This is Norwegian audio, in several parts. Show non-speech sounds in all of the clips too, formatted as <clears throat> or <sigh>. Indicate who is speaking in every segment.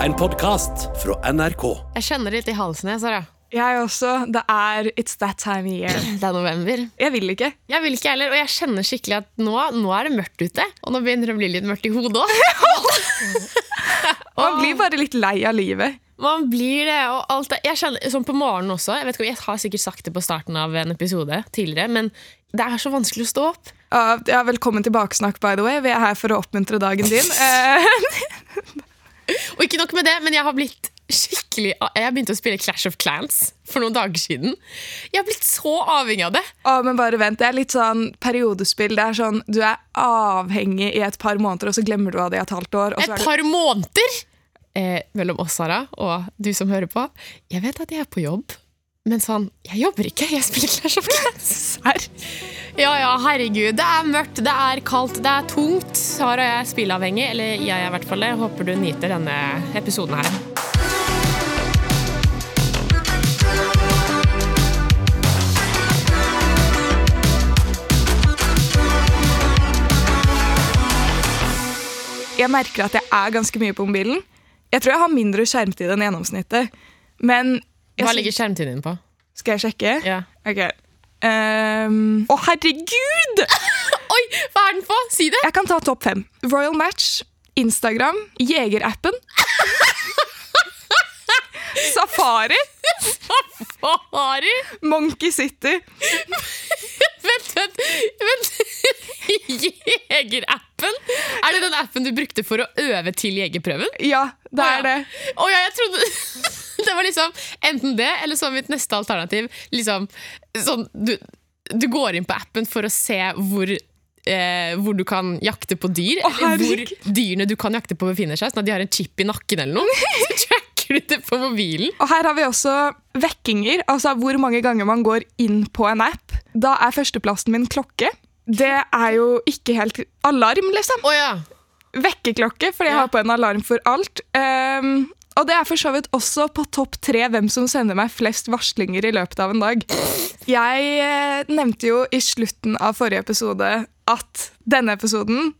Speaker 1: En podcast fra NRK.
Speaker 2: Jeg kjenner det litt i halsen, jeg, Sara.
Speaker 3: Jeg også. Det er It's that time of year.
Speaker 2: Det er november.
Speaker 3: Jeg vil ikke.
Speaker 2: Jeg vil ikke heller, og jeg kjenner skikkelig at nå, nå er det mørkt ute. Og nå begynner det å bli litt mørkt i hodet òg.
Speaker 3: Man blir bare litt lei av livet.
Speaker 2: <laughs> Man blir det, og alt det. Jeg kjenner, sånn på morgenen også, jeg, vet ikke, om- jeg har sikkert sagt det på starten av en episode tidligere, men det er så vanskelig å stå opp.
Speaker 3: Uh, ja, velkommen til Baksnakk, by the way. Vi er her for å oppmuntre dagen
Speaker 2: <laughs>
Speaker 3: din. Eh,
Speaker 2: Og ikke nok med det, men jeg har blitt skikkelig Jeg begynte å spille Clash of Clans for noen dager siden. Jeg har blitt så avhengig av det.
Speaker 3: å, men bare vent, det er litt sånn periodespill. Det er sånn, Du er avhengig i et par måneder, og så glemmer du av det i et halvt år. Og så
Speaker 2: Et
Speaker 3: er det,
Speaker 2: par måneder eh, mellom oss, Sara, og du som hører på. Jeg vet at jeg er på jobb, men sånn Jeg jobber ikke, jeg spiller Clash of Clans. Serr? Ja ja, herregud. Det er mørkt, det er kaldt, det er tungt. Sara og jeg er spillavhengig, eller jeg er i hvert fall det. Håper du nyter denne episoden her.
Speaker 3: jeg merker at jeg er ganske mye på mobilen. Jeg tror jeg har mindre skjermtid enn gjennomsnittet. Men jeg
Speaker 2: Hva
Speaker 3: sy-
Speaker 2: ligger skjermtiden din på?
Speaker 3: Skal jeg sjekke?
Speaker 2: Ja.
Speaker 3: Ok. Ehm, Å, herregud!
Speaker 2: Oi, hva er den på? Si det!
Speaker 3: Jeg kan ta topp fem. Royal Match, Instagram, Jegerappen. <laughs> Safari,
Speaker 2: Safari!
Speaker 3: Monkey City.
Speaker 2: Vent, vent, vent. <laughs> Jegerappen? Er det den appen du brukte for å øve til jegerprøven?
Speaker 3: Ja, det er det.
Speaker 2: Å ja, jeg trodde <laughs> Det var liksom enten det, eller så mitt neste alternativ. Liksom sånn du, du går inn på appen for å se hvor Eh, hvor du kan jakte på dyr, eller hvor
Speaker 3: herregud.
Speaker 2: dyrene du kan jakte på, befinner seg. Sånn at de har en chip i nakken eller noe. <laughs> Så tracker du det på mobilen.
Speaker 3: Og her har vi også vekkinger, altså hvor mange ganger man går inn på en app. Da er førsteplassen min klokke. Det er jo ikke helt alarm, liksom.
Speaker 2: Å ja.
Speaker 3: Vekkeklokke, fordi jeg
Speaker 2: Ja.
Speaker 3: har på en alarm for alt. Ehm, og det er for så vidt også på topp tre hvem som sender meg flest varslinger i løpet av en dag. Jeg eh, nevnte jo i slutten av forrige episode at denne episoden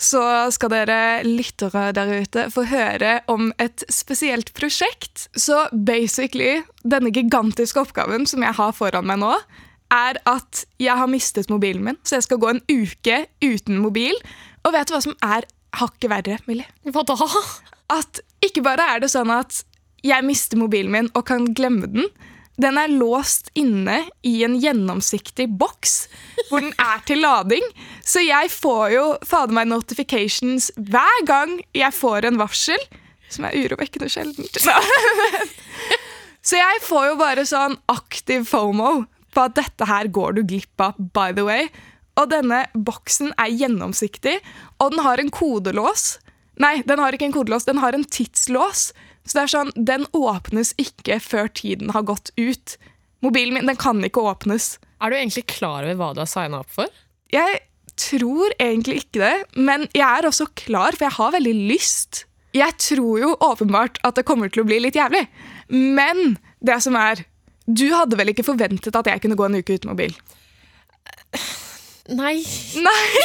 Speaker 3: så skal dere lyttere der ute få høre om et spesielt prosjekt. Så basically, denne gigantiske oppgaven som jeg har foran meg nå, er at jeg har mistet mobilen min, så jeg skal gå en uke uten mobil. Og vet du hva som er hakket verre, Millie?
Speaker 2: Hva da?
Speaker 3: at ikke bare er det sånn at jeg mister mobilen min og kan glemme den. Den er låst inne i en gjennomsiktig boks hvor den er til lading. Så jeg får jo fader meg notifications hver gang jeg får en varsel, som er urovekkende sjeldent. Så jeg får jo bare sånn aktiv FOMO på at dette her går du glipp av, by the way. Og denne boksen er gjennomsiktig, og den har en kodelås. Nei, den har ikke en kodelås, den har en tidslås. Så det er sånn, den åpnes ikke før tiden har gått ut. Mobilen min, den kan ikke åpnes.
Speaker 2: Er du egentlig klar over hva du har signa opp for?
Speaker 3: Jeg tror egentlig ikke det, men jeg er også klar, for jeg har veldig lyst. Jeg tror jo åpenbart at det kommer til å bli litt jævlig. Men det som er Du hadde vel ikke forventet at jeg kunne gå en uke uten mobil? <laughs>
Speaker 2: Nei. <laughs>
Speaker 3: Nei!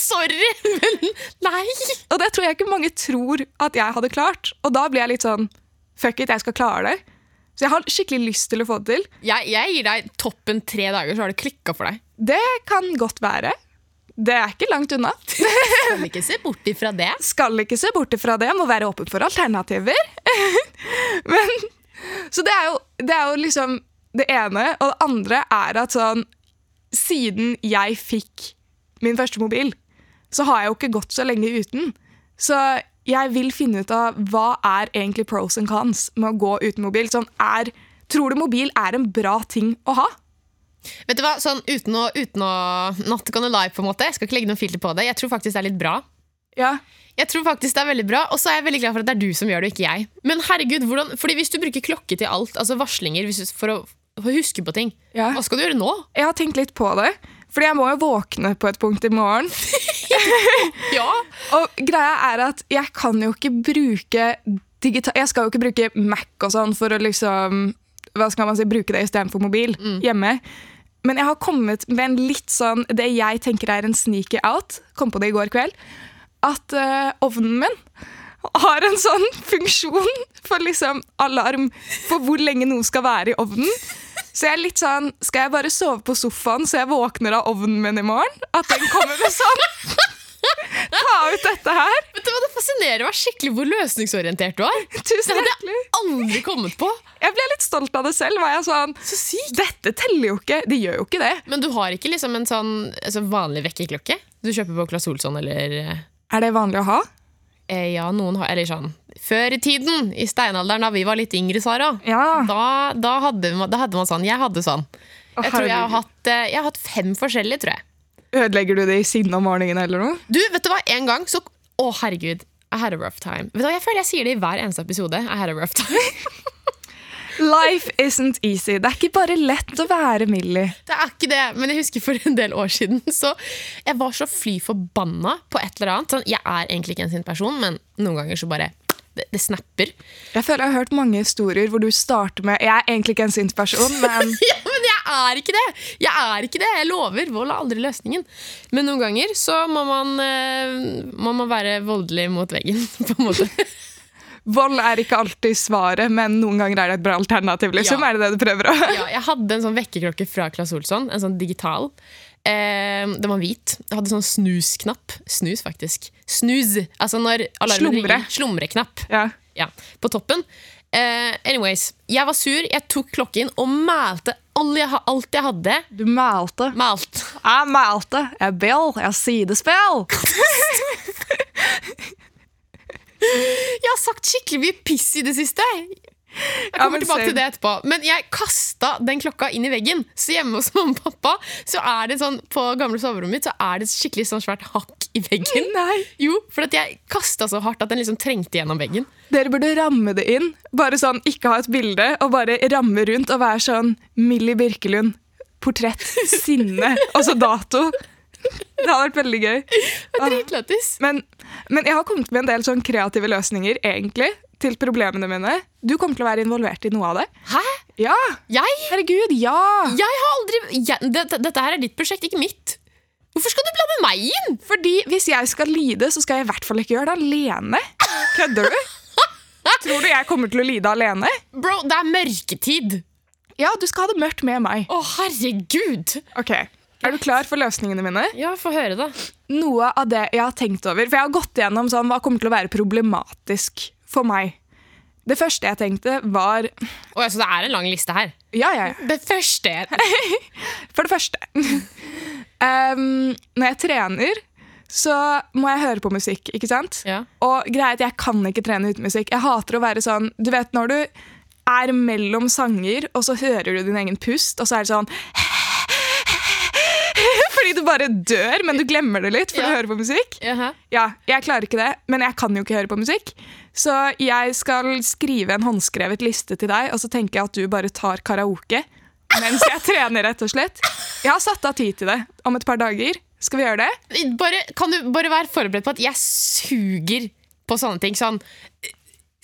Speaker 2: Sorry, men nei.
Speaker 3: Og det tror jeg ikke mange tror at jeg hadde klart. Og da blir jeg litt sånn Fuck it, jeg skal klare det. Så jeg har skikkelig lyst til å få det til.
Speaker 2: Jeg, jeg gir deg toppen tre dager, så har det klikka for deg.
Speaker 3: Det kan godt være. Det er ikke langt unna.
Speaker 2: Kan ikke se bort ifra det.
Speaker 3: skal ikke se bort fra det, må være åpen for alternativer. <laughs> Men, så det er, jo, det er jo liksom det ene. Og det andre er at sånn Siden jeg fikk min første mobil, så har jeg jo ikke gått så lenge uten. Så jeg vil finne ut av hva er egentlig pros and cons med å gå uten mobil. Sånn er, tror du mobil er en bra ting å ha?
Speaker 2: Vet du hva, sånn uten å, uten å Not gonna lie, på en måte. Jeg skal ikke legge noe filter på det. Jeg tror faktisk det er litt bra.
Speaker 3: Ja.
Speaker 2: Jeg tror faktisk det er veldig bra, Og så er jeg veldig glad for at det er du som gjør det, ikke jeg. Men herregud, hvordan, fordi hvis du bruker klokke til alt, altså varslinger hvis, du- for, å, for å huske på ting,
Speaker 3: Ja.
Speaker 2: hva skal du gjøre nå?
Speaker 3: Jeg har tenkt litt på det, fordi jeg må jo våkne på et punkt i morgen.
Speaker 2: Ja,
Speaker 3: Og greia er at jeg kan jo ikke bruke digital... Jeg skal jo ikke bruke Mac og sånn for å liksom Hva skal man si, bruke det istedenfor mobil hjemme. Men jeg har kommet med en litt sånn det jeg tenker er en sneaky out. Kom på det i går kveld. At eh, ovnen min har en sånn <laughs> funksjon for liksom alarm for hvor lenge noe skal være i ovnen. Så jeg er litt sånn Skal jeg bare sove på sofaen så jeg våkner av ovnen min i morgen? At den kommer med sånn Ta ut dette her.
Speaker 2: Vet du hva, Det fascinerer meg skikkelig hvor løsningsorientert du er. Det
Speaker 3: Tusen
Speaker 2: hadde
Speaker 3: hjertelig.
Speaker 2: jeg aldri kommet på.
Speaker 3: Jeg ble litt stolt av det selv. Var jeg sånn
Speaker 2: Så sykt.
Speaker 3: Dette teller jo ikke. Det gjør jo ikke det.
Speaker 2: Men du har ikke liksom en sånn altså vanlig vekkerklokke? Du kjøper på Claes Olsson eller
Speaker 3: Er det vanlig å ha?
Speaker 2: eh, Ja, noen har Eller sånn Før i tiden, i steinalderen da vi var litt yngre, Sara,
Speaker 3: Ja.
Speaker 2: da, da, hadde man, da hadde man sånn. Jeg hadde sånn. Jeg tror jeg har hatt, eh, jeg har hatt fem forskjellige, tror jeg.
Speaker 3: Ødelegger du det i sinne om morgenen eller noe?
Speaker 2: Du, vet du hva? En gang så Å, herregud. I had a rough time. Vet du hva, Jeg føler jeg sier det i hver eneste episode. I had a rough time. <laughs>
Speaker 3: Life isn't easy. Det er ikke bare lett å være Millie.
Speaker 2: Det er ikke det, men jeg husker for en del år siden Så jeg var så fly forbanna på et eller annet sånn, Jeg er egentlig ikke en sint person Men noen ganger så bare Det, det snapper
Speaker 3: Jeg føler jeg har hørt mange historier hvor du starter med Jeg er egentlig ikke en sint person, <laughs> men
Speaker 2: <laughs> Ja, men jeg er ikke det Jeg er ikke det, jeg lover Vold er aldri løsningen Men noen ganger så må man eh, Må man være voldelig mot veggen <laughs> På en måte
Speaker 3: vold er ikke alltid svaret, men noen ganger er det et bra alternativ, liksom.
Speaker 2: Ja.
Speaker 3: Er det det du prøver å <laughs>
Speaker 2: ja, Jeg hadde en sånn vekkeklokke fra Claes Olsson, en sånn digital. Eh, den var hvit. Jeg hadde sånn snusknapp. Snus, faktisk. Snus! Altså når alarmen
Speaker 3: Slumre.
Speaker 2: ringer. Slumreknapp.
Speaker 3: Ja.
Speaker 2: Ja, på toppen. Eh, anyways, jeg var sur. Jeg tok klokken og malte all jeg, ha- alt jeg hadde.
Speaker 3: Du malte.
Speaker 2: Malt.
Speaker 3: Jeg malte. Jeg bell. Jeg sidespill.
Speaker 2: Jeg har sagt skikkelig mye piss i det siste. Jeg
Speaker 3: Ja,
Speaker 2: kommer
Speaker 3: men
Speaker 2: tilbake til
Speaker 3: same.
Speaker 2: det etterpå. Men jeg kasta den klokka inn i veggen. Så hjemme hos <laughs> mamma og pappa Så er det sånn, på gamle soverommet mitt Så er det et skikkelig sånn svært hakk i veggen.
Speaker 3: Nei.
Speaker 2: Jo, for at jeg kasta så hardt at den liksom trengte gjennom veggen.
Speaker 3: Dere burde ramme det inn. Bare sånn, Ikke ha et bilde, og bare ramme rundt og være sånn Millie Birkelund. Portrett. Sinne. <laughs> Altså dato. Det hadde vært veldig gøy. Ah,
Speaker 2: Det var Dritlættis.
Speaker 3: Men, men jeg har kommet med en del sånn kreative løsninger egentlig, til problemene mine. Du kommer til å være involvert i noe av det.
Speaker 2: Hæ?
Speaker 3: Ja!
Speaker 2: Jeg?
Speaker 3: Herregud, ja!
Speaker 2: Jeg har aldri jeg, dette, dette her er ditt prosjekt, ikke mitt. Hvorfor skal du blande meg inn?
Speaker 3: Fordi hvis jeg skal lide, så skal jeg i hvert fall ikke gjøre det alene. Kødder <laughs> du? Tror du jeg kommer til å lide alene?
Speaker 2: Bro, det er mørketid.
Speaker 3: Ja, du skal ha det mørkt med meg.
Speaker 2: Å, herregud.
Speaker 3: Ok, Er du klar for løsningene mine?
Speaker 2: Ja, få høre, da.
Speaker 3: noe av det jeg har tenkt over. For jeg har gått gjennom sånn, hva kommer til å være problematisk for meg. Det første jeg tenkte, var
Speaker 2: Å, ja, så altså, det er en lang liste her.
Speaker 3: Ja, ja, ja.
Speaker 2: Det første er
Speaker 3: For det første <laughs> um, Når jeg trener, så må jeg høre på musikk, ikke sant?
Speaker 2: Ja.
Speaker 3: Og greia er at jeg kan ikke trene uten musikk. Jeg hater å være sånn Du vet når du er mellom sanger, og så hører du din egen pust, og så er det sånn <laughs> Fordi du bare dør, men du glemmer det litt for å
Speaker 2: Ja.
Speaker 3: høre på musikk.
Speaker 2: Jaha.
Speaker 3: Ja, jeg klarer ikke det, men jeg kan jo ikke høre på musikk. Så jeg skal skrive en håndskrevet liste til deg, og så tenker jeg at du bare tar karaoke mens jeg <laughs> trener, rett og slett. Jeg har satt av tid til det om et par dager. Skal vi gjøre det?
Speaker 2: Bare, kan du bare være forberedt på at jeg suger på sånne ting? Sånn eh,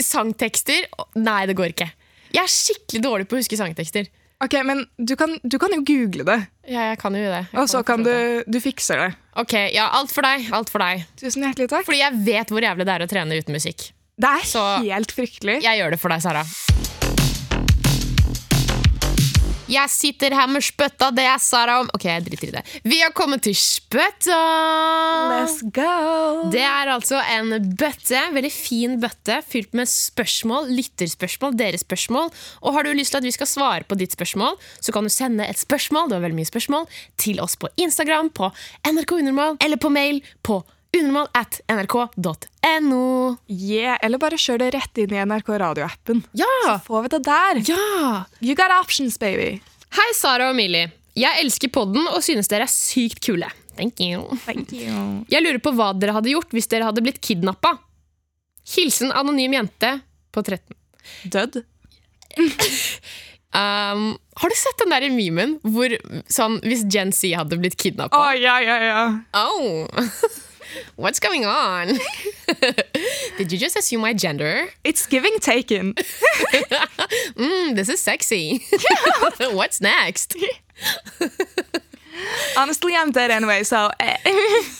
Speaker 2: sangtekster Nei, det går ikke. Jeg er skikkelig dårlig på å huske sangtekster.
Speaker 3: Ok, men du kan, du kan jo google det,
Speaker 2: Ja, jeg kan jo det. Jeg
Speaker 3: og så kan
Speaker 2: forstå
Speaker 3: du
Speaker 2: det.
Speaker 3: Du fikser det.
Speaker 2: Ok, ja, alt for deg. Alt for deg.
Speaker 3: Tusen hjertelig takk.
Speaker 2: Fordi jeg vet hvor jævlig det er å trene uten musikk.
Speaker 3: Det er
Speaker 2: Så-
Speaker 3: helt fryktelig.
Speaker 2: Jeg gjør det for deg, Sara. Jeg sitter her med spøtta, det er Sara om Ok, jeg driter i det. Vi har kommet til spøtta!
Speaker 3: Let's go!
Speaker 2: Det er altså en bøtte, veldig fin bøtte, fylt med spørsmål, lytterspørsmål, deres spørsmål. Og har du lyst til at vi skal svare på ditt spørsmål, så kan du sende et spørsmål, det var veldig mye spørsmål, til oss på Instagram, på NRK Unormal, eller på mail på unormal at nrk.no.
Speaker 3: Yeah, eller bare kjør det rett inn i NRK radioappen.
Speaker 2: Ja!
Speaker 3: Så får vi det der.
Speaker 2: Ah. Ja!
Speaker 3: You got options, baby.
Speaker 2: Hei, Sara og Millie. Jeg elsker podden og synes dere er sykt kule. Thank you.
Speaker 3: Thank you.
Speaker 2: Jeg lurer på hva dere hadde gjort hvis dere hadde blitt kidnappa. Hilsen anonym jente på 13.
Speaker 3: Dødd.
Speaker 2: <laughs> Um, har du sett den der memen hvor sånn, hvis Gen Z hadde blitt kidnappa?
Speaker 3: Å, ja, ja, ja.
Speaker 2: Oh. <laughs> What's going on? <laughs> Did you just assume my gender?
Speaker 3: It's giving taken.
Speaker 2: <laughs> Mm, this is sexy. What's next?
Speaker 3: Honestly, I'm dead anyway, so eh,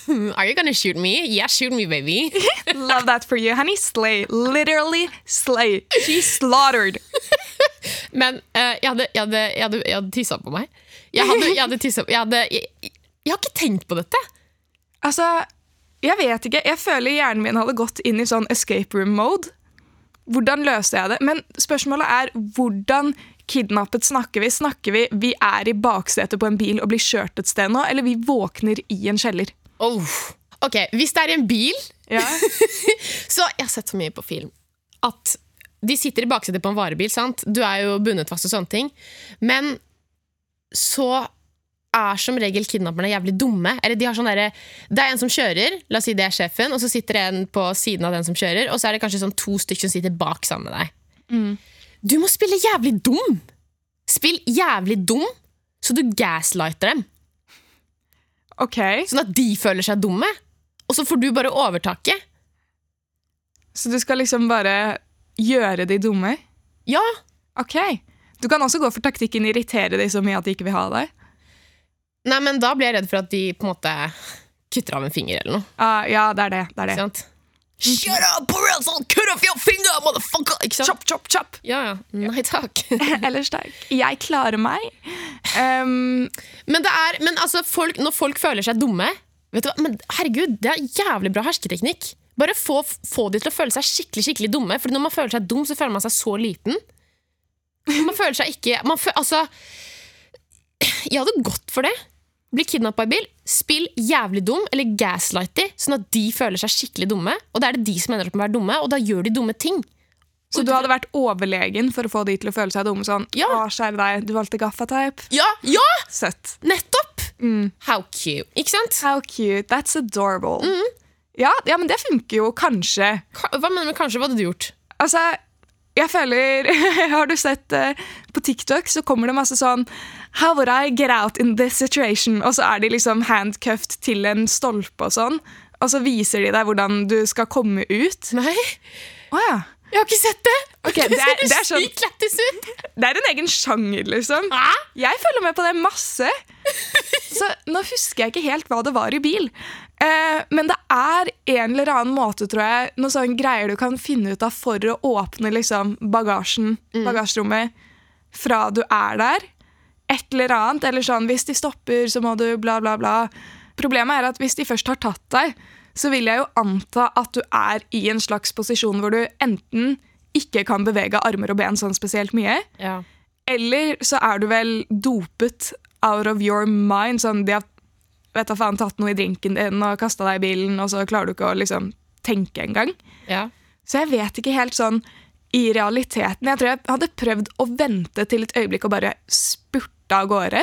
Speaker 3: <laughs>
Speaker 2: Are you gonna shoot me? Yeah, shoot me, baby.
Speaker 3: love that for you. Honey, slay. Literally slay. She slaughtered.
Speaker 2: Men eh, jeg hadde, jeg hadde, jeg hadde, jeg hadde tissa på meg. Jeg hadde, jeg hadde tissa jeg, hadde, jeg, jeg, jeg har ikke tenkt på dette.
Speaker 3: Altså, jeg vet ikke. Jeg føler hjernen min hadde gått inn i sånn escape room-mode. Hvordan løste jeg det? Men spørsmålet er hvordan kidnappet snakker vi? Snakker vi vi er i baksetet på en bil og blir kjørt et sted nå, eller vi våkner i en kjeller?
Speaker 2: Oh. Ok, Hvis det er en bil
Speaker 3: Ja.
Speaker 2: Så jeg har sett så mye på film at de sitter i baksetet på en varebil. sant? Du er jo bundet fast og sånne ting. Men så er som regel kidnapperne jævlig dumme. Eller de har sånn derre Det er en som kjører, la oss si det er sjefen, og så sitter det en på siden av den som kjører, og så er det kanskje sånn to stykker som sitter bak sammen med deg. Du må spille jævlig dum! Spill jævlig dum, så du gaslighter dem.
Speaker 3: Ok.
Speaker 2: Sånn at de føler seg dumme. Og så får du bare overtaket.
Speaker 3: Så du skal liksom bare gjøre de dumme?
Speaker 2: Ja,
Speaker 3: Ok. Du kan også gå for taktikken irritere de så mye at de ikke vil ha deg.
Speaker 2: Nei, men da blir jeg redd for at de på en måte kutter av en finger eller noe.
Speaker 3: Ah, ja, det er det. det, er
Speaker 2: Ikke
Speaker 3: det.
Speaker 2: sant? Shut up Sånn, or else I'll cut off your finger, motherfucker! Ikke sant?
Speaker 3: Chop, chop, chop! <laughs>
Speaker 2: Ja, ja. Nei takk.
Speaker 3: Ellers takk. Jeg klarer meg. Um,
Speaker 2: Men, det er, men altså, folk, når folk føler seg dumme vet du hva? Men herregud, det er jævlig bra hersketeknikk. Bare få, få de til å føle seg skikkelig skikkelig dumme. For når man føler seg dum, så føler man seg så liten. Man føler seg ikke man føl, Altså Jeg hadde gått for det. Bli kidnappa i bil, spill jævlig dum eller gaslight de, sånn at de føler seg skikkelig dumme. Og da er det de som ender opp med å være dumme, og da gjør de dumme ting.
Speaker 3: Så du hadde vært overlegen for å få de til å føle seg dumme? Sånn,
Speaker 2: Ja.
Speaker 3: «Å, kjære deg, du valgte gaffateip.
Speaker 2: Ja! Ja!
Speaker 3: Søtt.
Speaker 2: Nettopp! Mm. How cute. Ikke sant?
Speaker 3: How cute. That's adorable. Ja, ja, men det funker jo kanskje.
Speaker 2: Ka- Hva mener du med kanskje? Hva hadde du gjort?
Speaker 3: Altså, jeg føler <laughs> Har du sett eh, på TikTok, så kommer det masse sånn How would I get out in this situation? Og så er de liksom handcuffed til en stolpe og sånn. Og så viser de deg hvordan du skal komme ut.
Speaker 2: Nei,
Speaker 3: Å ja.
Speaker 2: jeg har ikke sett det! <laughs>
Speaker 3: Ok, det er-
Speaker 2: ser
Speaker 3: det er sånn-
Speaker 2: sykt lættis ut!
Speaker 3: Det er en egen sjanger, liksom.
Speaker 2: Hæ?
Speaker 3: Jeg følger med på det masse. Så nå husker jeg ikke helt hva det var i bil. Eh, men det er en eller annen måte, tror jeg, noen sånne greier du kan finne ut av for å åpne liksom, bagasjen, bagasjerommet, fra du er der. Et eller annet. Eller sånn hvis de stopper, så må du bla, bla, bla. Problemet er at hvis de først har tatt deg, så vil jeg jo anta at du er i en slags posisjon hvor du enten ikke kan bevege armer og ben sånn spesielt mye,
Speaker 2: Ja.
Speaker 3: eller så er du vel dopet out of your mind. Sånn, de har vet da faen, tatt noe i drinken din og kasta deg i bilen, og så klarer du ikke å liksom, tenke engang.
Speaker 2: ja.
Speaker 3: Så jeg vet ikke helt sånn i realiteten. Jeg tror jeg hadde prøvd å vente til et øyeblikk og bare spurte av gårde.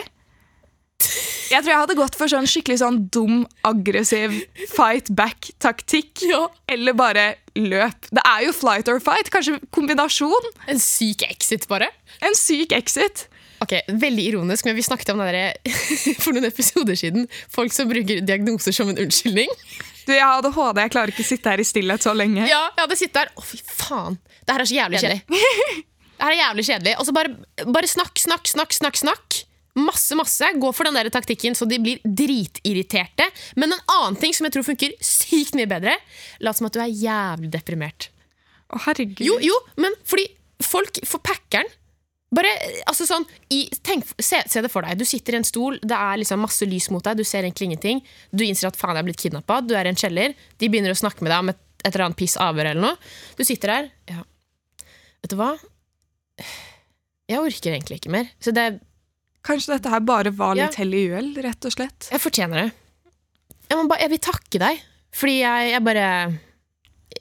Speaker 3: Jeg tror jeg hadde gått for sånn skikkelig sånn dum, aggressiv fight back-taktikk. Eller bare løp. Det er jo flight or fight. Kanskje kombinasjon.
Speaker 2: En syk exit, bare.
Speaker 3: En syk exit.
Speaker 2: Ok, Veldig ironisk, men vi snakket om det der eh, <laughs> for noen episoder siden. Folk som bruker diagnoser som en unnskyldning.
Speaker 3: Du, Jeg har ADHD, jeg klarer ikke å sitte her i stillhet så lenge.
Speaker 2: Ja, jeg hadde sittet der. Å, fy faen! Det her er så jævlig kjedelig. Det her er jævlig kjedelig. Og så bare, bare snakk, snakk, snakk, snakk. snakk. Masse, masse. Gå for den der taktikken så de blir dritirriterte. Men en annen ting som jeg tror funker sykt mye bedre, lat som at du er jævlig deprimert.
Speaker 3: Å, herregud.
Speaker 2: Jo, jo, men fordi folk for packeren bare, altså sånn, i, tenk, se, se det for deg. Du sitter i en stol, det er liksom masse lys mot deg, du ser egentlig ingenting. Du innser at faen, jeg er blitt kidnappa, du er i en kjeller. De begynner å snakke med deg om et, et eller annet piss avhør eller noe. Du sitter der. Ja. Vet du hva? Jeg orker egentlig ikke mer. Så det,
Speaker 3: Kanskje dette her bare var
Speaker 2: Ja.
Speaker 3: litt hell i uhell, rett og slett.
Speaker 2: jeg fortjener det. Jeg, må ba, jeg vil takke deg, fordi jeg, jeg bare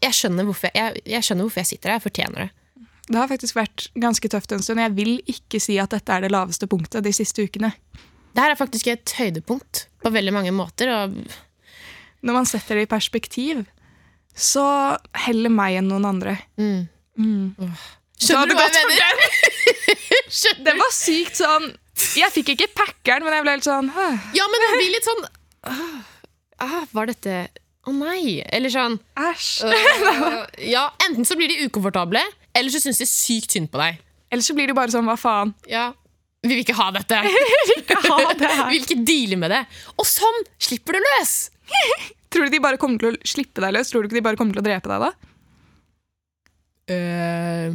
Speaker 2: jeg skjønner, hvorfor jeg, jeg, jeg skjønner hvorfor jeg sitter her. Jeg fortjener det.
Speaker 3: Det har faktisk vært ganske tøft en stund. Jeg vil ikke si at dette er det laveste punktet de siste ukene.
Speaker 2: Det her er faktisk et høydepunkt på veldig mange måter. Og
Speaker 3: Når man setter det i perspektiv, så heller meg enn noen andre.
Speaker 2: mm. skjønner du hva jeg
Speaker 3: mener?
Speaker 2: mener?
Speaker 3: Det
Speaker 2: Skjønner.
Speaker 3: var sykt sånn Jeg fikk ikke packeren, men jeg ble helt sånn «Åh,
Speaker 2: Ja, men det blir litt sånn «Åh, ah, Var dette Å nei! Eller <laughs> sånn
Speaker 3: Æsj.
Speaker 2: øh, Ja, enten så blir de ukomfortable, eller så syns de sykt synd på deg.
Speaker 3: Eller så blir det bare sånn Hva faen?
Speaker 2: Ja. <laughs> Vi vil ikke ha dette! <laughs> vil ikke deale med det. Og sånn slipper du løs!
Speaker 3: Tror du de bare kommer til å slippe deg løs? Tror du ikke de bare kommer til å drepe deg da?
Speaker 2: eh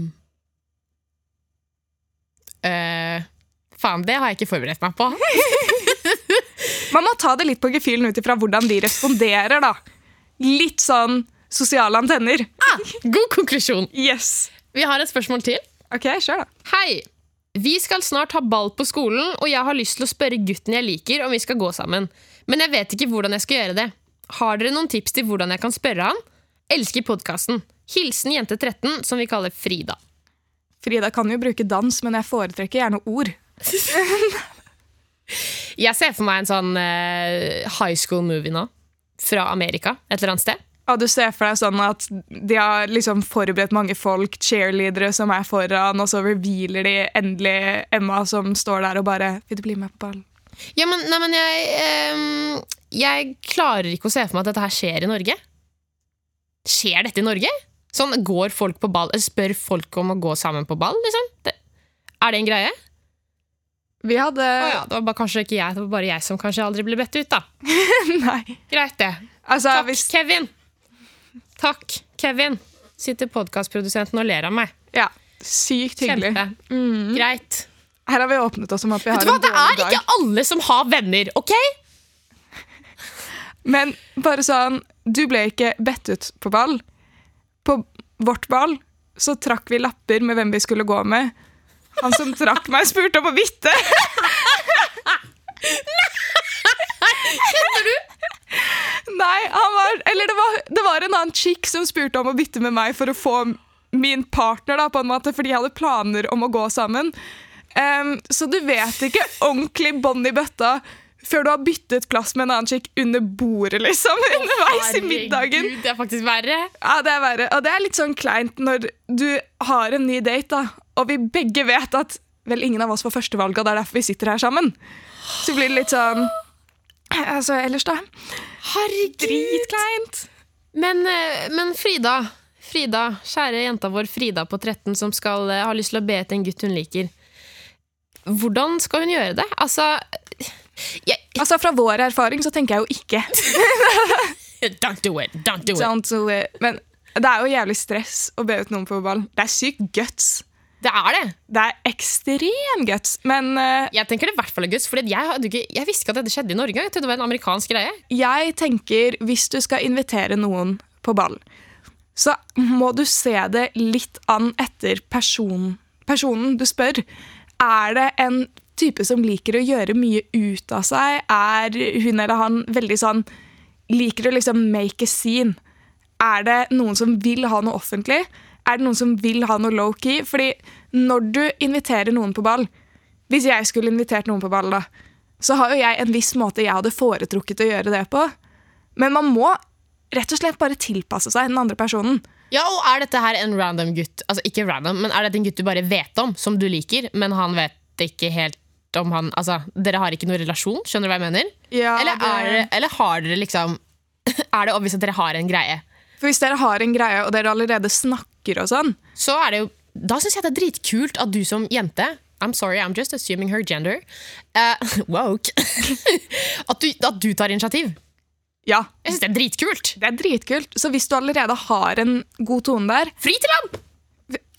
Speaker 2: eh, faen, det har jeg ikke forberedt meg på. <laughs>
Speaker 3: Man må ta det litt på gefühlen ut ifra hvordan de responderer, da. Litt sånn sosiale antenner.
Speaker 2: God konklusjon.
Speaker 3: Yes.
Speaker 2: Vi har et spørsmål til.
Speaker 3: Ok, kjør, da.
Speaker 2: Hei! Vi skal snart ha ball på skolen, og jeg har lyst til å spørre gutten jeg liker om vi skal gå sammen. Men jeg vet ikke hvordan jeg skal gjøre det. Har dere noen tips til hvordan jeg kan spørre han? Elsker podkasten. Hilsen jente 13, som vi kaller Frida.
Speaker 3: Frida kan jo bruke dans, men jeg foretrekker gjerne ord.
Speaker 2: Jeg ser for meg en sånn eh, high school movie nå. Fra Amerika, et eller annet sted.
Speaker 3: Og du ser for deg sånn at de har liksom forberedt mange folk, cheerleadere som er foran, og så revealer de endelig Emma som står der og bare Vil du bli med på ballen?
Speaker 2: Ja, men, nei, men jeg ehm, Jeg klarer ikke å se for meg at dette her skjer i Norge. Skjer dette i Norge? Sånn, går folk på ball eller Spør folk om å gå sammen på ball, liksom? Det, er det en greie?
Speaker 3: Vi hadde
Speaker 2: Å ja, det var bare, kanskje ikke jeg, det var bare jeg som kanskje aldri ble bedt ut, da.
Speaker 3: <laughs> Nei.
Speaker 2: Greit, det.
Speaker 3: Altså,
Speaker 2: Takk,
Speaker 3: hvis
Speaker 2: Kevin! Takk, Kevin! Sitter podkastprodusenten og ler av meg.
Speaker 3: Ja. Sykt hyggelig.
Speaker 2: Kjempe. Mm. Greit.
Speaker 3: Her har vi åpnet oss om at vi har
Speaker 2: Vet du hva,
Speaker 3: en
Speaker 2: det
Speaker 3: dårlig
Speaker 2: er
Speaker 3: dag.
Speaker 2: ikke alle som har venner, OK?
Speaker 3: Men bare sånn, du ble ikke bedt ut på ball. På vårt ball så trakk vi lapper med hvem vi skulle gå med. Han som trakk meg, spurte om å bytte.
Speaker 2: Kjenner du?
Speaker 3: Nei, han var, eller det var, det var en annen chick som spurte om å bytte med meg for å få min partner, da, på en måte, for de hadde planer om å gå sammen. Em, så du vet ikke ordentlig bånd i bøtta før du har byttet plass med en annen chick under bordet, liksom. <laughs> Underveis i middagen.
Speaker 2: Herregud, det er faktisk verre.
Speaker 3: Ja, det er verre. Og det er litt sånn kleint når du har en ny date, da, og vi begge vet at vel, ingen av oss var førstevalget, og det er derfor vi sitter her sammen. Så blir det litt sånn Altså, ellers, da.
Speaker 2: Herregud.
Speaker 3: Dritkleint.
Speaker 2: Men, eh, men Frida, Frida, kjære jenta vår Frida på 13 som skal eh, ha lyst til å be etter en gutt hun liker. Hvordan skal hun gjøre det? Altså jeg, <laughs>
Speaker 3: Altså, fra vår erfaring så tenker jeg jo ikke.
Speaker 2: Don't do it! Don't do
Speaker 3: Don't do it. Men det er jo jævlig stress å be ut noen på ball. Det er sykt guts.
Speaker 2: Det er det!
Speaker 3: Det er ekstrem guts. Men eh,
Speaker 2: Jeg tenker det i hvert fall er guts, for jeg, hadde ikke- jeg visste ikke at dette skjedde i Norge. Jeg trodde det var en amerikansk greie.
Speaker 3: jeg tenker hvis du skal invitere noen på ball, så må du se det litt an etter person, personen du spør. Er det en type som liker å gjøre mye ut av seg? Er hun eller han veldig sånn Liker å liksom make a scene? Er det noen som vil ha noe offentlig? Er det noen som vil ha noe low-key? Fordi når du inviterer noen på ball Hvis jeg skulle invitert noen på ball, da, så har jo jeg en viss måte jeg hadde foretrukket å gjøre det på. Men man må rett og slett bare tilpasse seg den andre personen.
Speaker 2: Ja, og er dette her en random gutt? Altså ikke random, men er dette en gutt du bare vet om, som du liker, men han vet ikke helt om han Altså, dere har ikke noen relasjon, skjønner du hva jeg mener?
Speaker 3: Ja,
Speaker 2: eller, er dere, eller har dere liksom <laughs> Er det obvious at dere har en greie?
Speaker 3: For hvis dere har en greie, og dere allerede snakker og sånn
Speaker 2: Så er det jo Da syns jeg det er dritkult at du som jente I'm sorry, I'm just assuming her gender. eh, <laughs> woke. at, du, at du tar initiativ.
Speaker 3: Ja,
Speaker 2: Jeg syns det er dritkult.
Speaker 3: det er dritkult. Så hvis du allerede har en god tone der
Speaker 2: Fri til ham!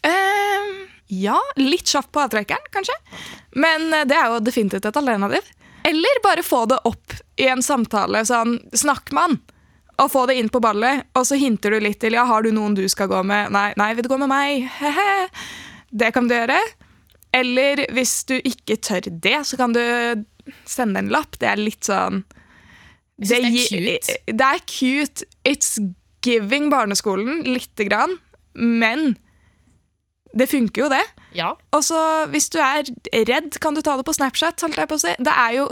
Speaker 3: eh, Ja, litt kjapt på avtrekkeren, kanskje. Men eh, det er jo definitivt et alternativ. Eller bare få det opp i en samtale. Sånn, snakk med han. Og få det inn på ballet, og så hinter du litt til ja, har du noen du skal gå med. Nei, nei, vil du gå med meg? Hehe. Det kan du gjøre. Eller hvis du ikke tør det, så kan du sende en lapp. Det er litt sånn
Speaker 2: Jeg synes det er
Speaker 3: gi-
Speaker 2: cute.
Speaker 3: Det er cute. It's giving barneskolen, lite grann. Men det funker jo, det.
Speaker 2: Ja.
Speaker 3: Og så hvis du er redd, kan du ta det på Snapchat. holdt jeg på å si. Det, er jo,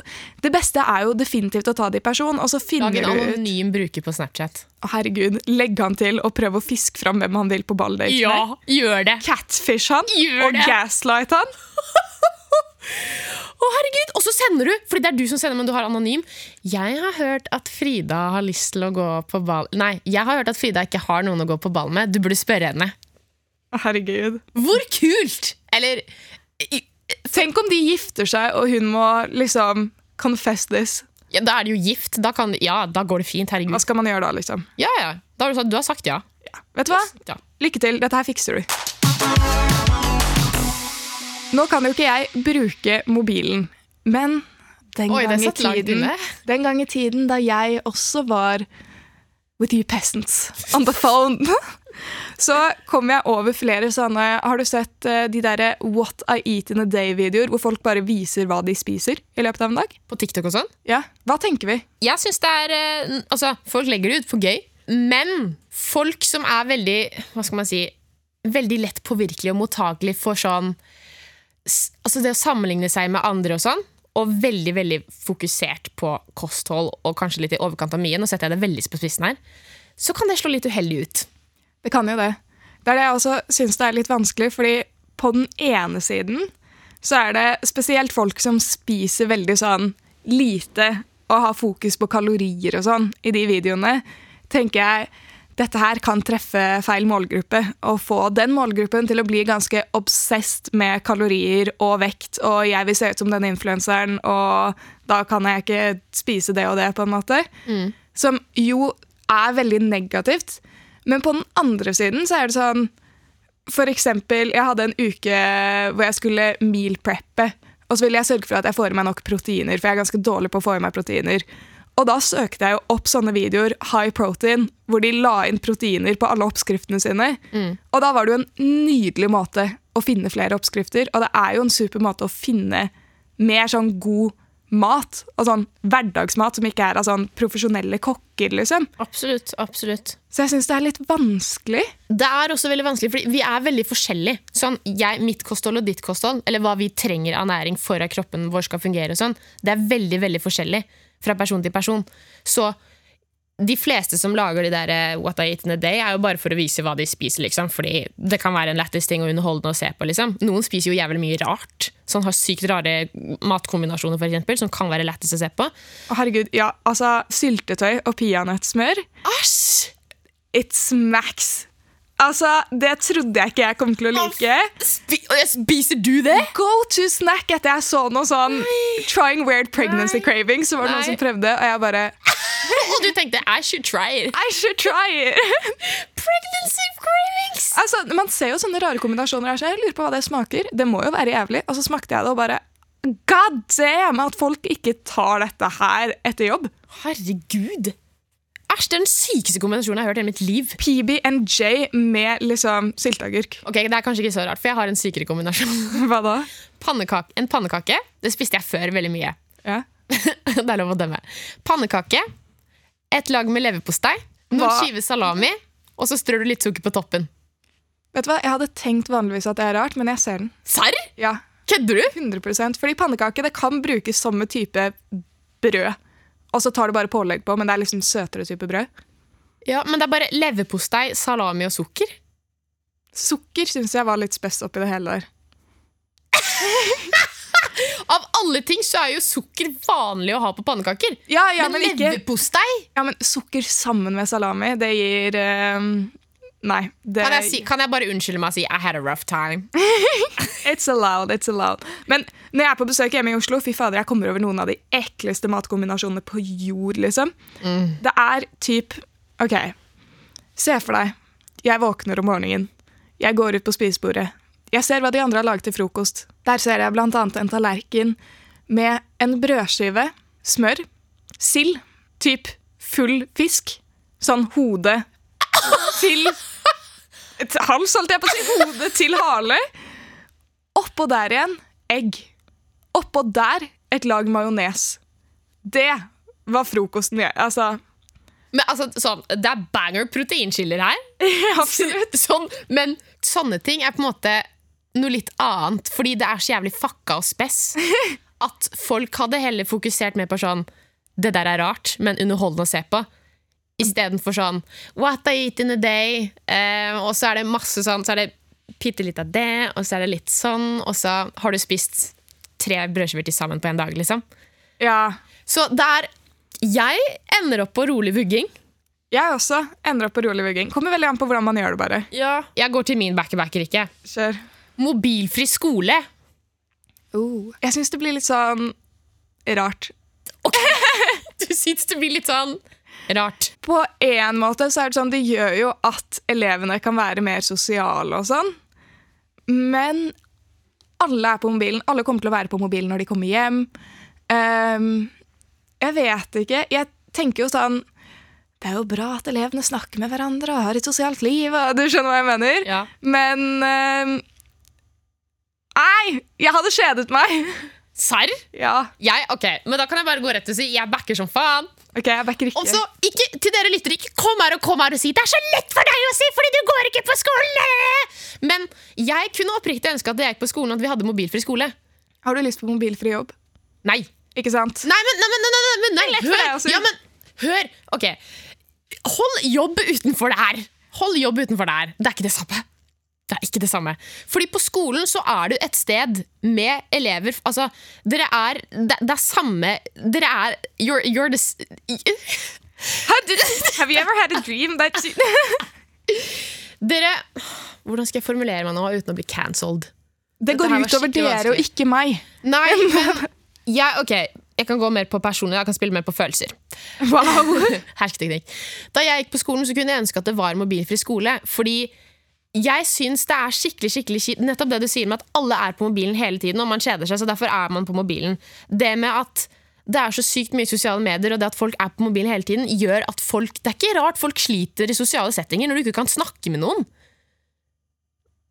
Speaker 3: det beste er jo definitivt å ta det i person, og så
Speaker 2: Lag en
Speaker 3: finner du ut
Speaker 2: anonym bruker på Snapchat.
Speaker 3: Å, Herregud, legg han til og prøv å fiske fram hvem han vil på balldate med.
Speaker 2: gjør det!
Speaker 3: Catfish han
Speaker 2: Gjør
Speaker 3: og
Speaker 2: det.
Speaker 3: gaslight han.
Speaker 2: Å, herregud! Og så sender du! Fordi det er du som sender, men du har anonym. Jeg har hørt at Frida har lyst til å gå på ball Nei, jeg har hørt at Frida ikke har noen å gå på ball med. Du burde spørre henne.
Speaker 3: Å, Herregud.
Speaker 2: Hvor kult! Eller i-
Speaker 3: Tenk om de gifter seg, og hun må liksom confess this.
Speaker 2: Ja, da er det jo gift. Da kan, ja, da går det fint. Herregud.
Speaker 3: Hva skal man gjøre da, liksom?
Speaker 2: Ja, ja. Da har du, sagt, du har sagt ja.
Speaker 3: Vet du hva?
Speaker 2: Altså- ja.
Speaker 3: Lykke til, dette her fikser du. Nå kan jo ikke jeg bruke mobilen, men den,
Speaker 2: Oi, det
Speaker 3: gang, i
Speaker 2: satt langt
Speaker 3: tiden,
Speaker 2: inne.
Speaker 3: den gang i tiden da jeg også var with you peasants on the phone, <laughs> så kom jeg over flere sånne Har du sett eh, de derre What I Eat in a Day-videoer, hvor folk bare viser hva de spiser i løpet av en dag?
Speaker 2: På TikTok og sånn.
Speaker 3: Ja, Hva tenker vi?
Speaker 2: Jeg synes det er eh, n- Altså, folk legger det ut for gøy, men folk som er veldig Hva skal man si Veldig lett påvirkelig og mottagelig for sånn s- Altså det å sammenligne seg med andre og sånn, og veldig veldig fokusert på kosthold og kanskje litt i overkant av mye, nå setter jeg det veldig på spissen her, så kan det slå litt uheldig ut.
Speaker 3: Det kan jo det. Det er det jeg også syns det er litt vanskelig, fordi på den ene siden så er det spesielt folk som spiser veldig sånn lite og har fokus på kalorier og sånn i de videoene, tenker jeg dette her kan treffe feil målgruppe og få den målgruppen til å bli ganske obsessed med kalorier og vekt og jeg vil se ut som den influenseren og da kan jeg ikke spise det og det, på en måte. Som jo er veldig negativt. Men på den andre siden så er det sånn For eksempel, jeg hadde en uke hvor jeg skulle meal preppe. Og så ville jeg sørge for at jeg får i meg nok proteiner, for jeg er ganske dårlig på å få i meg proteiner. Og da søkte jeg jo opp sånne videoer, high protein, hvor de la inn proteiner på alle oppskriftene sine. Og da var det jo en nydelig måte å finne flere oppskrifter, og det er jo en super måte å finne mer sånn god mat, og sånn hverdagsmat som ikke er av sånn profesjonelle kokker, liksom.
Speaker 2: Absolutt, absolutt.
Speaker 3: Så jeg syns det er litt vanskelig.
Speaker 2: Det er også veldig vanskelig, fordi vi er veldig forskjellige. Sånn, jeg, mitt kosthold og ditt kosthold, eller hva vi trenger av næring for at kroppen vår skal fungere, og sånn, det er veldig veldig forskjellig fra person til person. Så de fleste som lager de der eh, What I Eat in a Day, er jo bare for å vise hva de spiser. liksom, fordi det kan være en lættis ting og underholdende å se på. liksom. Noen spiser jo jævlig mye rart. Sånn har sykt rare matkombinasjoner, for eksempel, som kan være lættis å se på.
Speaker 3: Å, herregud, ja, altså Syltetøy og peanøttsmør,
Speaker 2: Æsj!
Speaker 3: it smacks! Altså, det trodde jeg ikke jeg kom til å like.
Speaker 2: Spi spiser du det?
Speaker 3: Go to snack etter jeg så noe sånn Trying weird pregnancy craving, så var det
Speaker 2: Nei.
Speaker 3: noen som prøvde, og jeg bare
Speaker 2: Og du tenkte I should try it.
Speaker 3: I should
Speaker 2: <laughs>
Speaker 3: try it!
Speaker 2: Pregnancy cravings!
Speaker 3: altså, man ser jo sånne rare kombinasjoner her, så jeg lurer på hva det smaker. Det må jo være jævlig. Og så smakte jeg det og bare God damn! At folk ikke tar dette her etter jobb.
Speaker 2: Herregud! Æsj, det er den sykeste kombinasjonen jeg har hørt i hele mitt liv.
Speaker 3: PB&J med liksom
Speaker 2: <laughs>
Speaker 3: sylteagurk.
Speaker 2: Ok, Det er kanskje ikke så rart, for jeg har en sykere kombinasjon. <laughs>
Speaker 3: Hva da?
Speaker 2: Pannekak en pannekake det spiste jeg før veldig mye. <laughs>
Speaker 3: Ja.
Speaker 2: det er lov å dømme. Pannekake, et lag med leverpostei, noen
Speaker 3: Hva?
Speaker 2: skiver salami, og så strør du litt sukker på toppen.
Speaker 3: Vet du hva, Jeg hadde tenkt vanligvis at det er rart, men jeg ser den.
Speaker 2: Serr?
Speaker 3: Ja,
Speaker 2: Kødder du?
Speaker 3: 100 Fordi pannekake det kan brukes som en type brød. Og så tar du bare pålegg på, men det er liksom søtere type brød.
Speaker 2: Ja, Men det er bare leverpostei, salami og sukker.
Speaker 3: Sukker syns jeg var litt spess oppi det hele der.
Speaker 2: Av alle ting så er jo sukker vanlig å ha på pannekaker.
Speaker 3: Ja, ja,
Speaker 2: men
Speaker 3: men, ikke,
Speaker 2: leverpostei?
Speaker 3: ja, men sukker sammen med salami, det gir ehm, Nei. Det,
Speaker 2: Kan jeg, si, kan jeg bare unnskylde meg og si I had a rough time?
Speaker 3: It's allowed, it's allowed. Men når jeg er på besøk hjemme i Oslo, fy fader, jeg kommer over noen av de ekleste matkombinasjonene på jord, liksom. Det er typ OK, se for deg. Jeg våkner om morgenen. Jeg går ut på spisebordet. Jeg ser hva de andre har laget til frokost. Der ser jeg bl.a. en tallerken med en brødskive, smør, sild, typ full fisk, sånn hode til et Hals, holdt jeg på å si. Hode til hale. Oppå der igjen egg. Oppå der et lag majones. Det var frokosten jeg Altså, <laughs>
Speaker 2: Men altså, sånn, Det er banger proteinskiller her,
Speaker 3: absolutt.
Speaker 2: sånn, men sånne ting er på en måte noe litt annet. Fordi det er så jævlig fucka og spess at folk hadde heller fokusert mer på sånn Det der er rart, men underholdende å se på. Istedenfor sånn What I eat in a day. Eh, og så er det masse sånn Så er det bitte litt av det, og så er det litt sånn, og så har du spist tre brødskiver til sammen på en dag, liksom.
Speaker 3: Ja.
Speaker 2: Så det er Jeg ender opp på rolig vugging.
Speaker 3: Jeg også ender opp på rolig vugging. Kommer veldig an på hvordan man gjør det, bare.
Speaker 2: Jeg går til min backer-backer, ikke.
Speaker 3: Kjør.
Speaker 2: Mobilfri skole.
Speaker 3: Jeg syns det blir litt sånn rart.
Speaker 2: <laughs> Du syns det blir litt sånn rart.
Speaker 3: På en måte så er det sånn, det gjør jo at elevene kan være mer sosiale og sånn. Men alle er på mobilen. Alle kommer til å være på mobilen når de kommer hjem. Ehm, jeg vet ikke. Jeg tenker jo sånn Det er jo bra at elevene snakker med hverandre og har et sosialt liv. og Du skjønner hva jeg mener?
Speaker 2: Ja.
Speaker 3: Men ehm, Nei! Jeg hadde kjedet meg. <laughs>
Speaker 2: Serr?
Speaker 3: ja.
Speaker 2: Jeg, ok, men Da kan jeg bare gå rett og si jeg backer som faen.
Speaker 3: OK, jeg backer ikke.
Speaker 2: Og så, ikke, til dere lyttere, ikke kom her og kom her og si 'det er så lett for deg å si fordi du går ikke på skolen'! Men jeg kunne oppriktig ønske at jeg gikk på skolen at vi hadde mobilfri skole.
Speaker 3: Har du lyst på mobilfri jobb?
Speaker 2: Nei.
Speaker 3: Ikke sant?
Speaker 2: Nei, men, nei, men, nei, nei, men nei,
Speaker 3: Det er lett for
Speaker 2: hør,
Speaker 3: deg å si.
Speaker 2: ja, men, hør, ok Hold jobb utenfor det her Hold jobb utenfor det her, det er ikke det samme Det er ikke det samme Fordi på skolen så er du et sted med elever Altså, dere er, det, det er samme Dere er, you're, you're the s-
Speaker 3: <laughs> Have you ever had a dream that you...
Speaker 2: Dere, hvordan skal jeg formulere meg nå uten å bli cancelled?
Speaker 3: <laughs> Det går
Speaker 2: her var
Speaker 3: ut over
Speaker 2: skikkelig
Speaker 3: dere og
Speaker 2: vanskelig.
Speaker 3: ikke meg.
Speaker 2: Nei, men jeg, ok, jeg kan gå mer på personer, jeg kan spille mer på følelser.
Speaker 3: <laughs> Wow.
Speaker 2: Hersketeknikk. Da jeg gikk på skolen, så kunne jeg ønske at det var mobilfri skole. Fordi jeg syns det er skikkelig skikkelig kjipt Nettopp det du sier med at alle er på mobilen hele tiden, og man kjeder seg, så derfor er man på mobilen. Det med at det er så sykt mye sosiale medier, og det at folk er på mobilen hele tiden, gjør at folk Det er ikke rart folk sliter i sosiale settinger når du ikke kan snakke med noen.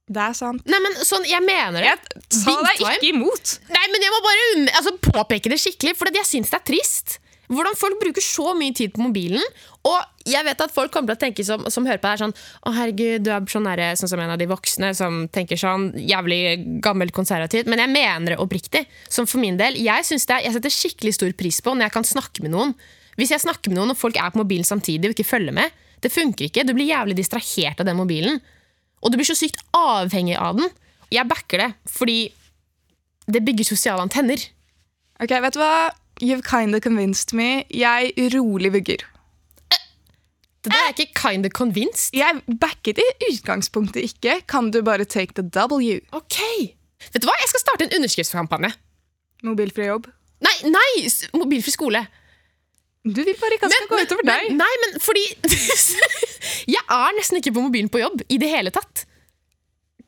Speaker 3: Det er sant.
Speaker 2: Nei, men sånn, jeg mener det.
Speaker 3: Jeg sa
Speaker 2: Big
Speaker 3: deg
Speaker 2: time.
Speaker 3: ikke imot.
Speaker 2: Nei, men jeg må bare unn- altså, påpeke det skikkelig, for jeg syns det er trist. Hvordan folk bruker så mye tid på mobilen. Og jeg vet at folk kommer til å tenke som, som hører på det her sånn Å, herregud, du er sånn, derre- sånn som en av de voksne som tenker sånn jævlig gammelt konservativt. Men jeg mener det oppriktig. Som for min del. Jeg, synes det, er- jeg setter skikkelig stor pris på når jeg kan snakke med noen. Hvis jeg snakker med noen og folk er på mobilen samtidig og ikke følger med, det funker ikke. Du blir jævlig distrahert av den mobilen. Og du blir så sykt avhengig av den. Jeg backer det, fordi det bygger sosiale antenner.
Speaker 3: Ok, vet du hva? You've kinda convinced me. Jeg rolig vugger.
Speaker 2: Det der er ikke kind of convinced.
Speaker 3: Jeg backet i utgangspunktet ikke. Kan du bare take the W?
Speaker 2: Ok. Vet du hva? Jeg skal starte en underskriftskampanje.
Speaker 3: Mobilfri jobb.
Speaker 2: Nei, nei, s- mobilfri skole.
Speaker 3: Du vil bare ikke at det skal gå utover deg.
Speaker 2: men, nei, men fordi <laughs> Jeg er nesten ikke på mobilen på jobb i det hele tatt.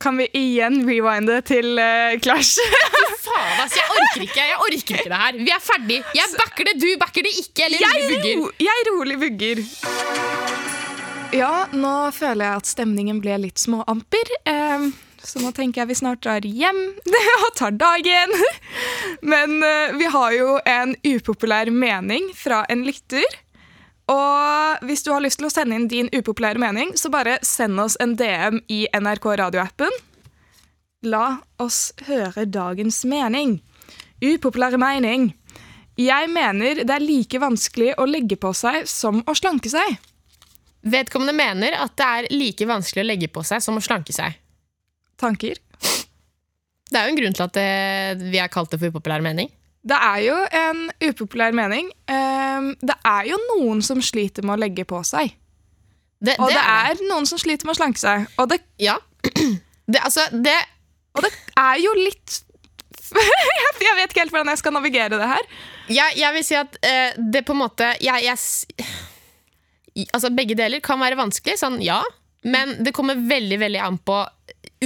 Speaker 3: Kan vi igjen rewinde til eh, Clash?
Speaker 2: Faen, ass, jeg orker ikke jeg orker ikke det her. Vi er ferdig. Jeg backer det, du backer det ikke. Eller
Speaker 3: jeg,
Speaker 2: du bugger.
Speaker 3: ro, jeg rolig vugger. Ja, nå føler jeg at stemningen ble litt småamper. Eh, så nå tenker jeg vi snart drar hjem <laughs> og tar dagen. Men eh, vi har jo en upopulær mening fra en lytter. Og hvis du har lyst til å sende inn din upopulære mening, så bare send oss en DM i NRK radioappen. La oss høre dagens mening. Upopulære mening. Jeg mener det er like vanskelig å legge på seg som å slanke seg.
Speaker 2: Vedkommende mener at det er like vanskelig å legge på seg som å slanke seg.
Speaker 3: Tanker?
Speaker 2: Det er jo en grunn til at eh, vi er kalt det for upopulær mening.
Speaker 3: Det er jo en upopulær mening. Ehm, det er jo noen som sliter med å legge på seg.
Speaker 2: Det,
Speaker 3: Og det,
Speaker 2: det.
Speaker 3: er noen som sliter med å slanke seg. Og det,
Speaker 2: Ja. <clears throat> Det, altså, det
Speaker 3: og det er jo litt <laughs> Jeg vet ikke helt hvordan jeg skal navigere det her.
Speaker 2: jeg, jeg vil si at eh, det på en måte jeg, jeg, s- I- Altså Begge deler kan være vanskelig, sånn ja. Men det kommer veldig veldig an på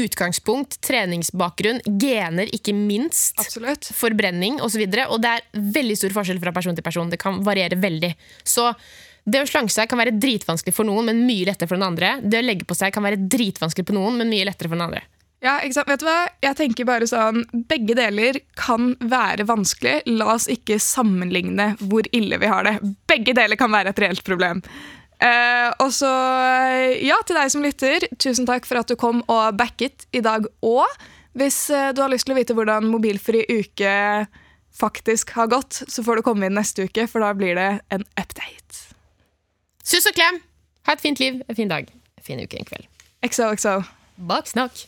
Speaker 2: utgangspunkt, treningsbakgrunn, gener, ikke minst.
Speaker 3: Absolutt.
Speaker 2: Forbrenning osv. Og, så videre, og det er veldig stor forskjell fra person til person. Det kan variere veldig. Så det å slanke seg kan være dritvanskelig for noen, men mye lettere for den andre. Det å legge på seg kan være dritvanskelig på noen, men mye lettere for den andre.
Speaker 3: Ja, ikke sant? Vet du hva? Jeg tenker bare sånn Begge deler kan være vanskelig. La oss ikke sammenligne hvor ille vi har det. Begge deler kan være et reelt problem. Eh, og så, eh, ja, til deg som lytter, tusen takk for at du kom og backet i dag òg. Hvis eh, du har lyst til å vite hvordan mobilfri uke faktisk har gått, så får du komme inn neste uke, for da blir det en update.
Speaker 2: Sus og klem! Ha et fint liv, en fin dag, en fin uke, en kveld.
Speaker 3: XOXO.
Speaker 2: Baksnakk!